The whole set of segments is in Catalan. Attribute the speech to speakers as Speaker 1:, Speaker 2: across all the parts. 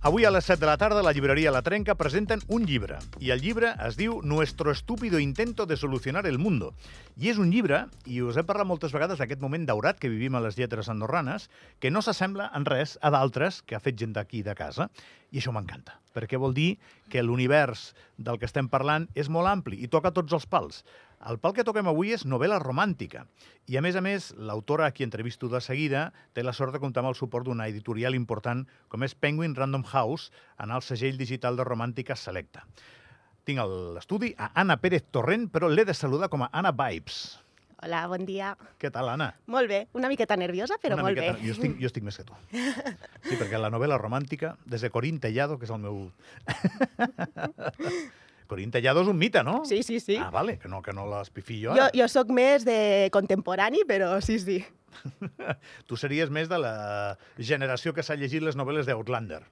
Speaker 1: Avui a les 7 de la tarda la llibreria La Trenca presenten un llibre i el llibre es diu Nuestro estúpido intento de solucionar el mundo. I és un llibre, i us he parlat moltes vegades d'aquest moment daurat que vivim a les lletres andorranes, que no s'assembla en res a d'altres que ha fet gent d'aquí de casa. I això m'encanta, perquè vol dir que l'univers del que estem parlant és molt ampli i toca tots els pals. El pal que toquem avui és novel·la romàntica. I, a més a més, l'autora a qui entrevisto de seguida té la sort de comptar amb el suport d'una editorial important com és Penguin Random House en el segell digital de romàntica Selecta. Tinc a l'estudi a Anna Pérez Torrent, però l'he de saludar com a Anna Vibes.
Speaker 2: Hola, bon dia.
Speaker 1: Què tal, Anna?
Speaker 2: Molt bé, una miqueta nerviosa, però
Speaker 1: Una
Speaker 2: molt
Speaker 1: miqueta-
Speaker 2: bé.
Speaker 1: Jo estic, jo estic més que tu. Sí, perquè la novel·la romàntica, des de Corín Tellado, que és el meu... Corín Tellado és un mite, no?
Speaker 2: Sí, sí, sí.
Speaker 1: Ah, vale, que no, que no l'espifí jo
Speaker 2: jo,
Speaker 1: ara.
Speaker 2: jo sóc més de contemporani, però sí, sí.
Speaker 1: Tu series més de la generació que s'ha llegit les novel·les d'Outlander.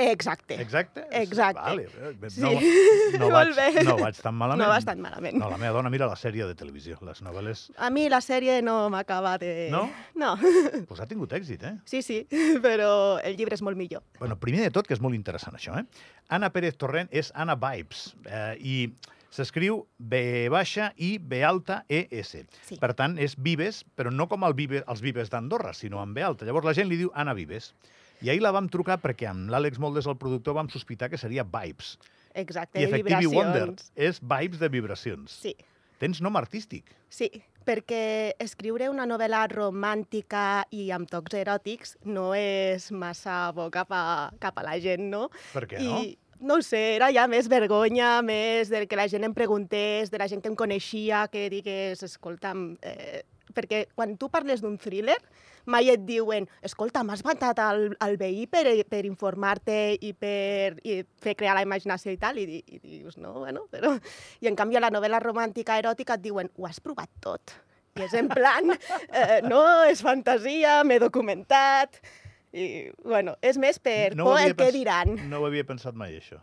Speaker 2: Exacte.
Speaker 1: Exacte?
Speaker 2: Exacte.
Speaker 1: Vale. No,
Speaker 2: Sí.
Speaker 1: no,
Speaker 2: Molt
Speaker 1: vaig,
Speaker 2: bé.
Speaker 1: no vaig tan malament.
Speaker 2: No vas tan malament.
Speaker 1: No, la meva dona mira la sèrie de televisió, les novel·les...
Speaker 2: A mi la sèrie no m'acaba de...
Speaker 1: No?
Speaker 2: No.
Speaker 1: Pues ha tingut èxit, eh?
Speaker 2: Sí, sí, però el llibre és molt millor.
Speaker 1: Bueno, primer de tot, que és molt interessant això, eh? Anna Pérez Torrent és Anna Vibes eh, i s'escriu B baixa i B alta E ES.
Speaker 2: Sí.
Speaker 1: Per tant, és Vives, però no com el vive, els Vives d'Andorra, sinó amb B alta. Llavors la gent li diu Anna Vives. I ahir la vam trucar perquè amb l'Àlex Moldes, el productor, vam sospitar que seria Vibes.
Speaker 2: Exacte,
Speaker 1: I Effectivi
Speaker 2: vibracions.
Speaker 1: Wonder és Vibes de vibracions.
Speaker 2: Sí,
Speaker 1: Tens nom artístic.
Speaker 2: sí, perquè escriure una novel·la romàntica i amb tocs eròtics no és massa bo cap a, cap a la gent, no?
Speaker 1: Per què no?
Speaker 2: I no ho sé, era ja més vergonya, més del que la gent em preguntés, de la gent que em coneixia, que digués, escolta'm... Eh, perquè quan tu parles d'un thriller, mai et diuen, escolta, m'has matat el, el veí per, per informar-te i per i fer crear la imaginació i tal, i, di- i dius, no, bueno, però... I en canvi a la novel·la romàntica eròtica et diuen, ho has provat tot. I és en plan, eh, no, és fantasia, m'he documentat... I, bueno, és més per
Speaker 1: No ho
Speaker 2: no por
Speaker 1: havia
Speaker 2: el que
Speaker 1: pens-
Speaker 2: diran.
Speaker 1: No ho havia pensat mai, això.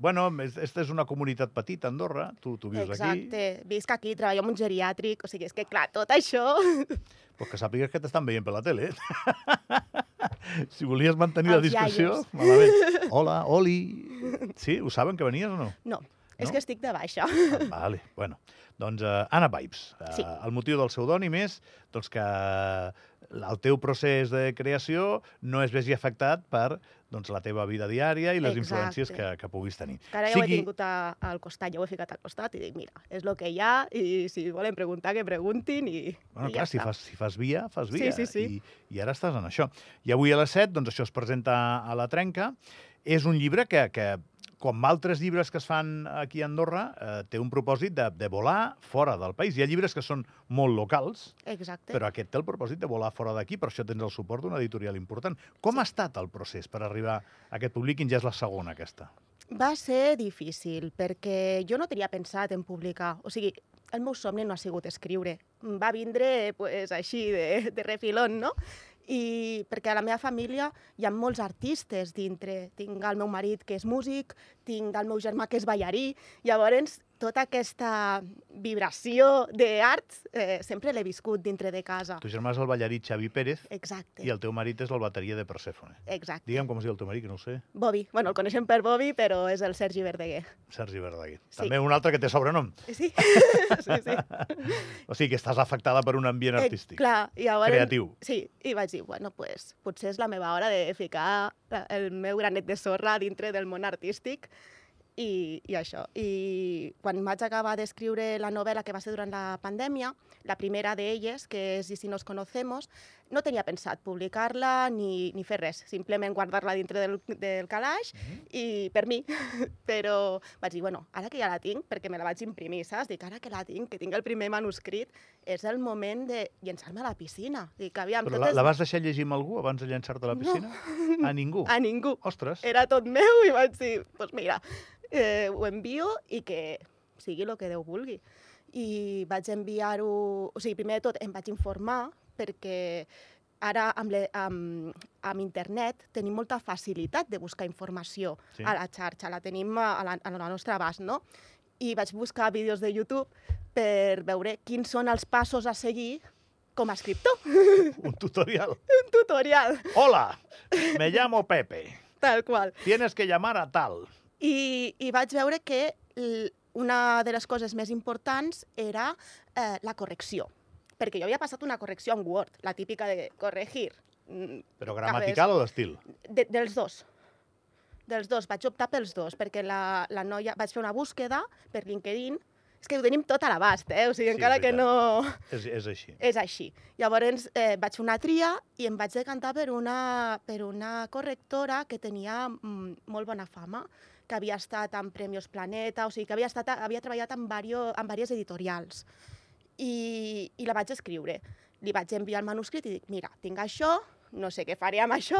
Speaker 1: bueno, aquesta és una comunitat petita, Andorra. Tu, tu vius aquí.
Speaker 2: Exacte, visc aquí, treballo en un geriàtric, o sigui, és que clar, tot això...
Speaker 1: Pues que sàpigues que t'estan veient per la tele. Eh? si volies mantenir la
Speaker 2: Els
Speaker 1: discussió,
Speaker 2: iaios.
Speaker 1: malament. Hola, Oli. Sí, ho saben que venies o no?
Speaker 2: No, és
Speaker 1: No?
Speaker 2: que estic de baixa.
Speaker 1: Ah, Vale, bueno. Doncs uh, Anna Vibes. Uh,
Speaker 2: Sí.
Speaker 1: El motiu del pseudònim és doncs, que el teu procés de creació no es vegi afectat per doncs, la teva vida diària i les
Speaker 2: Exacte.
Speaker 1: influències que, que puguis tenir.
Speaker 2: Que ara ja ho he tingut a, al costat, ja ho he ficat al costat i dic, mira, és el que hi ha i si volen preguntar, que preguntin i,
Speaker 1: Bueno,
Speaker 2: i
Speaker 1: clar,
Speaker 2: ja
Speaker 1: si
Speaker 2: està.
Speaker 1: fas, si fas via, fas
Speaker 2: Sí,
Speaker 1: via.
Speaker 2: sí, sí.
Speaker 1: I, I ara estàs en això. I avui a les 7, doncs això es presenta a la Trenca. És un llibre que, que com altres llibres que es fan aquí a Andorra, eh, té un propòsit de, de volar fora del país. Hi ha llibres que són molt locals,
Speaker 2: Exacte.
Speaker 1: però aquest té el propòsit de volar fora d'aquí, per això tens el suport d'una editorial important. Com ha estat el procés per arribar a que et publiquin? Ja és la segona, aquesta.
Speaker 2: Va ser difícil, perquè jo no tenia pensat en publicar. O sigui, el meu somni no ha sigut escriure. Em Va vindre pues, així, de, de refilón, no? I perquè a la meva família hi ha molts artistes dintre. Tinc el meu marit, que és músic, tinc el meu germà, que és ballarí. Llavors, tota aquesta vibració d'art eh, sempre l'he viscut dintre de casa.
Speaker 1: Tu germà és el ballarí Xavi Pérez
Speaker 2: Ah. Exacte,
Speaker 1: i el teu marit és el bateria de Persèfone.
Speaker 2: exacte.
Speaker 1: Digue'm com es diu el teu marit, que no ho sé.
Speaker 2: Bobby, bueno, el coneixem per Bobby, però és el Sergi Verdaguer.
Speaker 1: Sergi Verdaguer.
Speaker 2: Sí.
Speaker 1: També un altre que té sobrenom.
Speaker 2: Sí, sí, sí.
Speaker 1: O sigui que estàs afectada per un ambient
Speaker 2: Eh,
Speaker 1: artístic.
Speaker 2: Clar, i llavors,
Speaker 1: Creatiu.
Speaker 2: Sí, i vaig dir, bueno, pues, potser és la meva hora de ficar la- el meu granet de sorra dintre del món artístic i, i això. I quan vaig acabar d'escriure la novel·la que va ser durant la pandèmia, la primera d'elles, que és I si nos conocemos, no tenia pensat publicar-la ni, ni fer res, simplement guardar-la dintre del, del calaix
Speaker 1: Mhm.
Speaker 2: i per mi, però vaig dir, bueno, ara que ja la tinc, perquè me la vaig imprimir, saps? Dic, ara que la tinc, que tinc el primer manuscrit, és el moment de llançar-me a la piscina. Dic, aviam,
Speaker 1: Però
Speaker 2: tot
Speaker 1: la,
Speaker 2: és...
Speaker 1: la vas deixar llegir amb algú abans de llançar-te a la piscina? No. A ningú?
Speaker 2: A Eh, ningú.
Speaker 1: Ostres,
Speaker 2: Era tot meu i vaig dir, doncs pues mira, eh, ho envio i que sigui el que Déu vulgui. I vaig enviar-ho... O sigui, primer de tot em vaig informar perquè ara amb, le, amb, amb internet tenim molta facilitat de buscar informació
Speaker 1: Sí.
Speaker 2: sí. a la xarxa, la tenim a a la, a la nostra abast, no? i vaig buscar vídeos de YouTube per veure quins són els passos a seguir com a escriptor.
Speaker 1: Un tutorial.
Speaker 2: Un tutorial,
Speaker 1: Hola, me llamo Pepe.
Speaker 2: tal qual.
Speaker 1: Tienes que llamar a tal.
Speaker 2: I, i vaig veure que l- una de les coses més importants era eh, la correcció. Perquè jo havia passat una correcció en Word, la típica de corregir. Mm,
Speaker 1: Però gramatical o d'estil?
Speaker 2: de, dels dos. Dels dos, vaig optar pels dos, perquè la, la noia... Vaig fer una búsqueda per LinkedIn. És que ho tenim tot a l'abast, eh? O
Speaker 1: Sí,
Speaker 2: sigui, sí, encara
Speaker 1: és
Speaker 2: que no...
Speaker 1: És, és així.
Speaker 2: És així. Llavors eh, vaig fer una tria i em vaig decantar per una, per una correctora que tenia mm, molt bona fama, que havia estat en Premios Planeta, o sigui, que havia, estat, a- havia treballat en, vario, en diverses editorials. I, I la vaig escriure. Li vaig enviar el manuscrit i dic, mira, tinc això, no sé què faré amb això,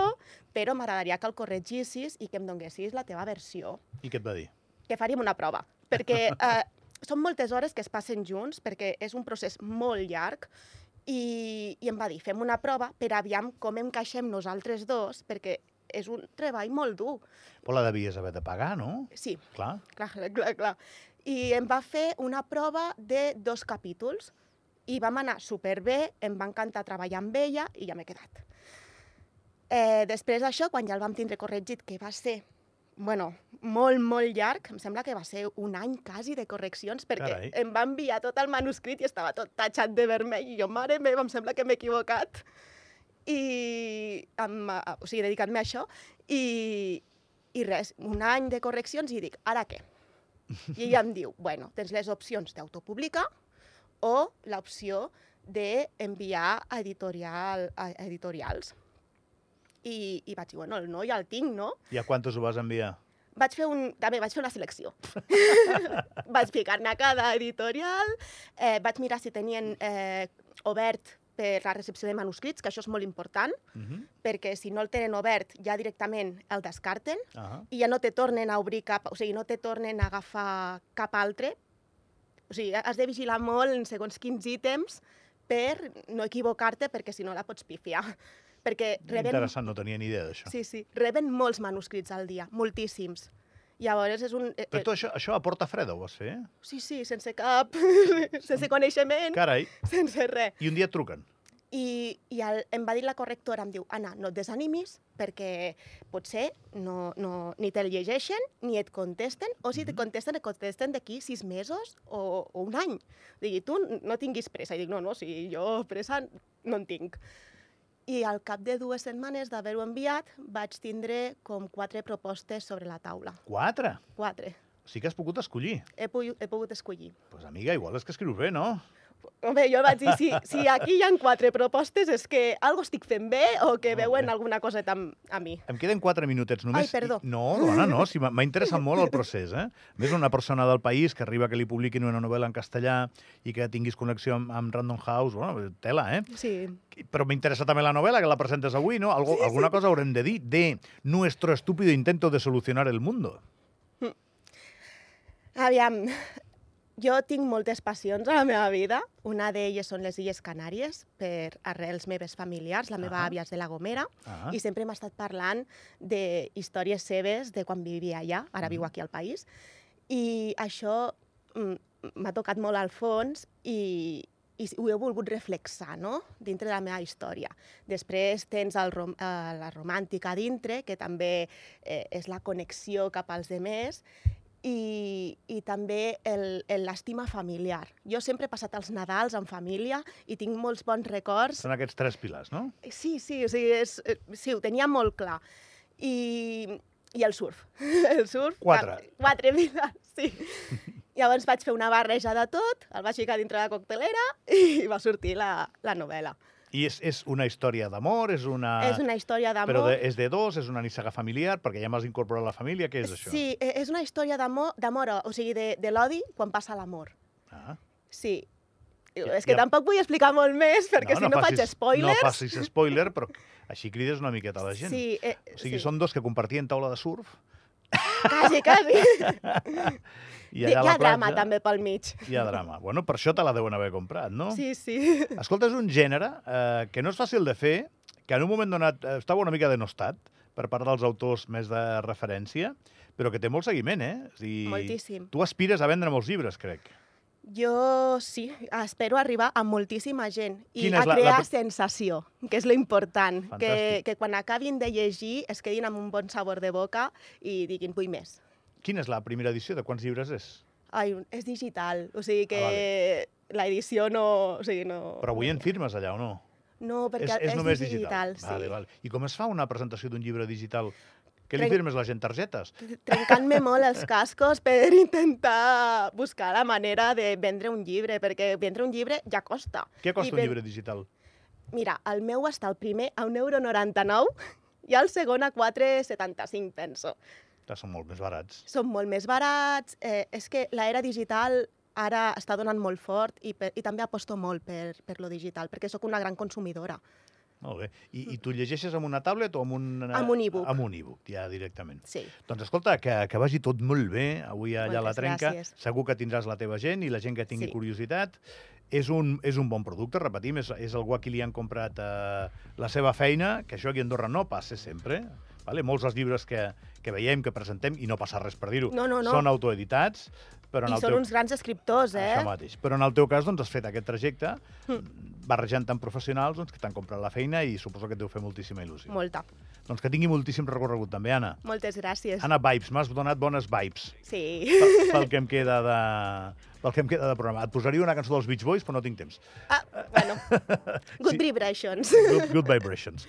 Speaker 2: però m'agradaria que el corregissis i que em donguessis la teva versió
Speaker 1: I què et va dir?
Speaker 2: que faríem una prova, perquè eh, són moltes hores que es passen junts, perquè és un procés molt llarg, i, i em va dir, fem una prova per aviam com encaixem nosaltres dos, perquè és un treball molt dur.
Speaker 1: Però la devies haver de pagar, no?
Speaker 2: Sí,
Speaker 1: Clar.
Speaker 2: clar, clar, clar. I em va fer una prova de dos capítols, i vam anar superbé, em va encantar treballar amb ella, i ja m'he quedat. Eh, després d'això, quan ja el vam tindre corregit, que va ser bueno, molt, molt llarg, em sembla que va ser un any quasi de correccions, perquè
Speaker 1: Carai.
Speaker 2: em va enviar tot el manuscrit i estava tot tatxat de vermell, i jo, mare meva, em sembla que m'he equivocat. I, em, eh, o sigui, dedicant-me a això, i, i res, un any de correccions, i dic, ara què? I ella em diu, bueno, tens les opcions d'autopublicar o l'opció d'enviar a, editorial, a a editorials. I, I vaig dir, bueno, el no ja el tinc, no?
Speaker 1: I a quantos ho vas enviar?
Speaker 2: Vaig fer un, també vaig fer una selecció. vaig ficar-me a cada editorial, eh, vaig mirar si tenien eh, obert per la recepció de manuscrits, que això és molt important,
Speaker 1: Uh -huh.
Speaker 2: perquè si no el tenen obert ja directament el descarten,
Speaker 1: Ah,
Speaker 2: i ja no te tornen a obrir cap, o sigui, no te tornen a agafar cap altre. O sigui, has de vigilar molt en segons quins ítems per no equivocar-te, perquè si no la pots pifiar. Perquè reben,
Speaker 1: interessant, no tenia ni idea d'això.
Speaker 2: sí, sí, reben molts manuscrits al dia, moltíssims. Llavors és un... eh,
Speaker 1: Però
Speaker 2: eh,
Speaker 1: tu això, això a Porta Freda ho vas fer? eh?
Speaker 2: Sí, sí, sense cap, sense coneixement,
Speaker 1: Carai,
Speaker 2: sense res.
Speaker 1: i un dia et truquen.
Speaker 2: I, i el, em va dir la correctora, em diu, Anna, no et desanimis perquè potser no, no, ni te'l llegeixen ni et contesten, o si et
Speaker 1: Mhm.
Speaker 2: contesten, et contesten d'aquí sis mesos o, o un any. Digui, tu no tinguis pressa. I dic, no, no, si jo pressa no en tinc. I al cap de dues setmanes d'haver-ho enviat, vaig tindre com quatre propostes sobre la taula.
Speaker 1: Quatre.
Speaker 2: Quatre.
Speaker 1: Sí que has pogut escollir.
Speaker 2: He, pu he pogut escollir.
Speaker 1: Pues amiga, igual és que escrius bé, no?
Speaker 2: Home, jo vaig dir, si, si aquí hi han quatre propostes, és que algo estic fent bé o que
Speaker 1: Molt
Speaker 2: veuen
Speaker 1: bé.
Speaker 2: alguna coseta amb, a mi.
Speaker 1: Em queden quatre minutets només.
Speaker 2: Ai, perdó.
Speaker 1: I- No, dona, no, si m'ha m'ha interessat molt el procés. Eh? A Més una persona del país que arriba que li publiquin una novel·la en castellà i que tinguis connexió amb, amb Random House, bueno, tela, eh?
Speaker 2: Sí.
Speaker 1: Però m'interessa també la novel·la, que la presentes avui, no? Algo, alguna cosa haurem de dir de nuestro estúpido intento de solucionar el mundo.
Speaker 2: Aviam, jo tinc moltes passions a la meva vida. Una d'elles són les Illes Canàries, per arrels meves familiars. La meva
Speaker 1: Ahà.
Speaker 2: àvia és de la Gomera
Speaker 1: Ah,
Speaker 2: i sempre m'ha estat parlant de històries seves de quan vivia allà, ara viu
Speaker 1: Mhm.
Speaker 2: aquí al país, i això mm, m'ha tocat molt al fons i, i s- ho he volgut reflexar, no?, dintre de la meva història. Després tens el rom eh, la romàntica a dintre, que també eh, és la connexió cap als demés, i, i també el- el- l'estima familiar. Jo sempre he passat els Nadals en família i tinc molts bons records
Speaker 1: són aquests tres pilars, no?
Speaker 2: Sí, sí, o sigui, és, eh, sí, ho tenia molt clar. I, i el surf. El surf...
Speaker 1: Quatre.
Speaker 2: tam- Quatre vides, sí. Llavors vaig fer una barreja de tot, el vaig ficar dintre la coctelera i va sortir la, la novel·la.
Speaker 1: I és, és una història d'amor, és una...
Speaker 2: És una història d'amor...
Speaker 1: Ah, Però de, és de dos, és una nissaga familiar, perquè ja m'has incorporat la família, què és això?
Speaker 2: Sí, eh, és una història d'amor, d'amor, o sigui, de, de l'odi quan passa l'amor.
Speaker 1: Ah.
Speaker 2: Sí. I-
Speaker 1: Ja-
Speaker 2: És que
Speaker 1: Eh, ja-
Speaker 2: tampoc vull explicar molt més, perquè si no, faig spoilers...
Speaker 1: No facis spoiler, però així crides una miqueta a la gent.
Speaker 2: Sí, eh,
Speaker 1: o sigui,
Speaker 2: sí.
Speaker 1: són dos que compartien taula de surf
Speaker 2: Quasi, quasi.
Speaker 1: i
Speaker 2: hi
Speaker 1: allà a la
Speaker 2: ha drama
Speaker 1: platja
Speaker 2: també pel mig.
Speaker 1: Hi ha drama. Bueno, per això te la deuen haver comprat, no?
Speaker 2: Sí, sí.
Speaker 1: Escolta, és un gènere eh, que no és fàcil de fer, que en un moment donat eh, estava una mica denostat, per part dels autors més de referència, però que té molt seguiment, eh? És a dir,
Speaker 2: Moltíssim.
Speaker 1: Tu aspires a vendre molts llibres, crec.
Speaker 2: Jo sí, espero arribar a moltíssima gent i
Speaker 1: Quina
Speaker 2: a
Speaker 1: és la- la
Speaker 2: crear
Speaker 1: pr-
Speaker 2: sensació, que és lo important. Que,
Speaker 1: Fantàstic.
Speaker 2: que quan acabin de llegir es quedin amb un bon sabor de boca i diguin, vull més.
Speaker 1: Quina és la primera edició? De quants llibres és?
Speaker 2: Ai, és digital, o sigui que
Speaker 1: Ah,
Speaker 2: la edició no... O sigui, no
Speaker 1: Però avui en firmes allà, o no?
Speaker 2: No, perquè és,
Speaker 1: només
Speaker 2: digital, sí.
Speaker 1: Vale, vale. I com es fa una presentació d'un llibre digital? Que li
Speaker 2: Trenc-
Speaker 1: firmes la gent targetes?
Speaker 2: trencant-me molt els cascos per intentar buscar la manera de vendre un llibre, perquè vendre un llibre ja costa.
Speaker 1: Què costa
Speaker 2: I
Speaker 1: un
Speaker 2: ben-
Speaker 1: llibre digital?
Speaker 2: Mira, el meu està el primer a 1,99€ i el segon a 4,75, penso.
Speaker 1: Ja Ah, són molt més barats.
Speaker 2: Són molt més barats, eh, és que l'era digital ara està donant molt fort i, per, i també aposto molt per, per lo digital, perquè sóc una gran consumidora.
Speaker 1: Molt bé. I, I tu llegeixes amb una tablet o amb un... eh,
Speaker 2: Amb un e-book.
Speaker 1: Amb un e-book, ja directament.
Speaker 2: Sí.
Speaker 1: Doncs escolta, que, que vagi tot molt bé avui allà a la
Speaker 2: Moltes
Speaker 1: Trenca.
Speaker 2: gràcies.
Speaker 1: Segur que tindràs la teva gent i la gent que tingui
Speaker 2: Sí.
Speaker 1: curiositat. És un, és un bon producte, repetim, és, és algú a qui li han comprat eh, la seva feina, que això aquí a Andorra no passa sempre. Vale? Molts dels llibres que, que veiem, que presentem, i no passa res per dir-ho,
Speaker 2: No, no, no.
Speaker 1: són autoeditats, però en
Speaker 2: I
Speaker 1: el
Speaker 2: són
Speaker 1: teu...
Speaker 2: uns grans escriptors, eh?
Speaker 1: Això mateix. Però en el teu cas doncs, has fet aquest trajecte
Speaker 2: Hm.
Speaker 1: barrejant tant professionals doncs, que t'han comprat la feina i suposo que et deu fer moltíssima il·lusió.
Speaker 2: Molta.
Speaker 1: Doncs que tingui moltíssim recorregut també, Anna.
Speaker 2: Moltes gràcies.
Speaker 1: Anna Vibes, m'has donat bones vibes
Speaker 2: Sí.
Speaker 1: pel, pel que em queda de pel que em queda de programa. Et posaria una cançó dels Beach Boys, però no tinc temps.
Speaker 2: Ah, bueno. Good vibrations.
Speaker 1: Good, good Vibrations.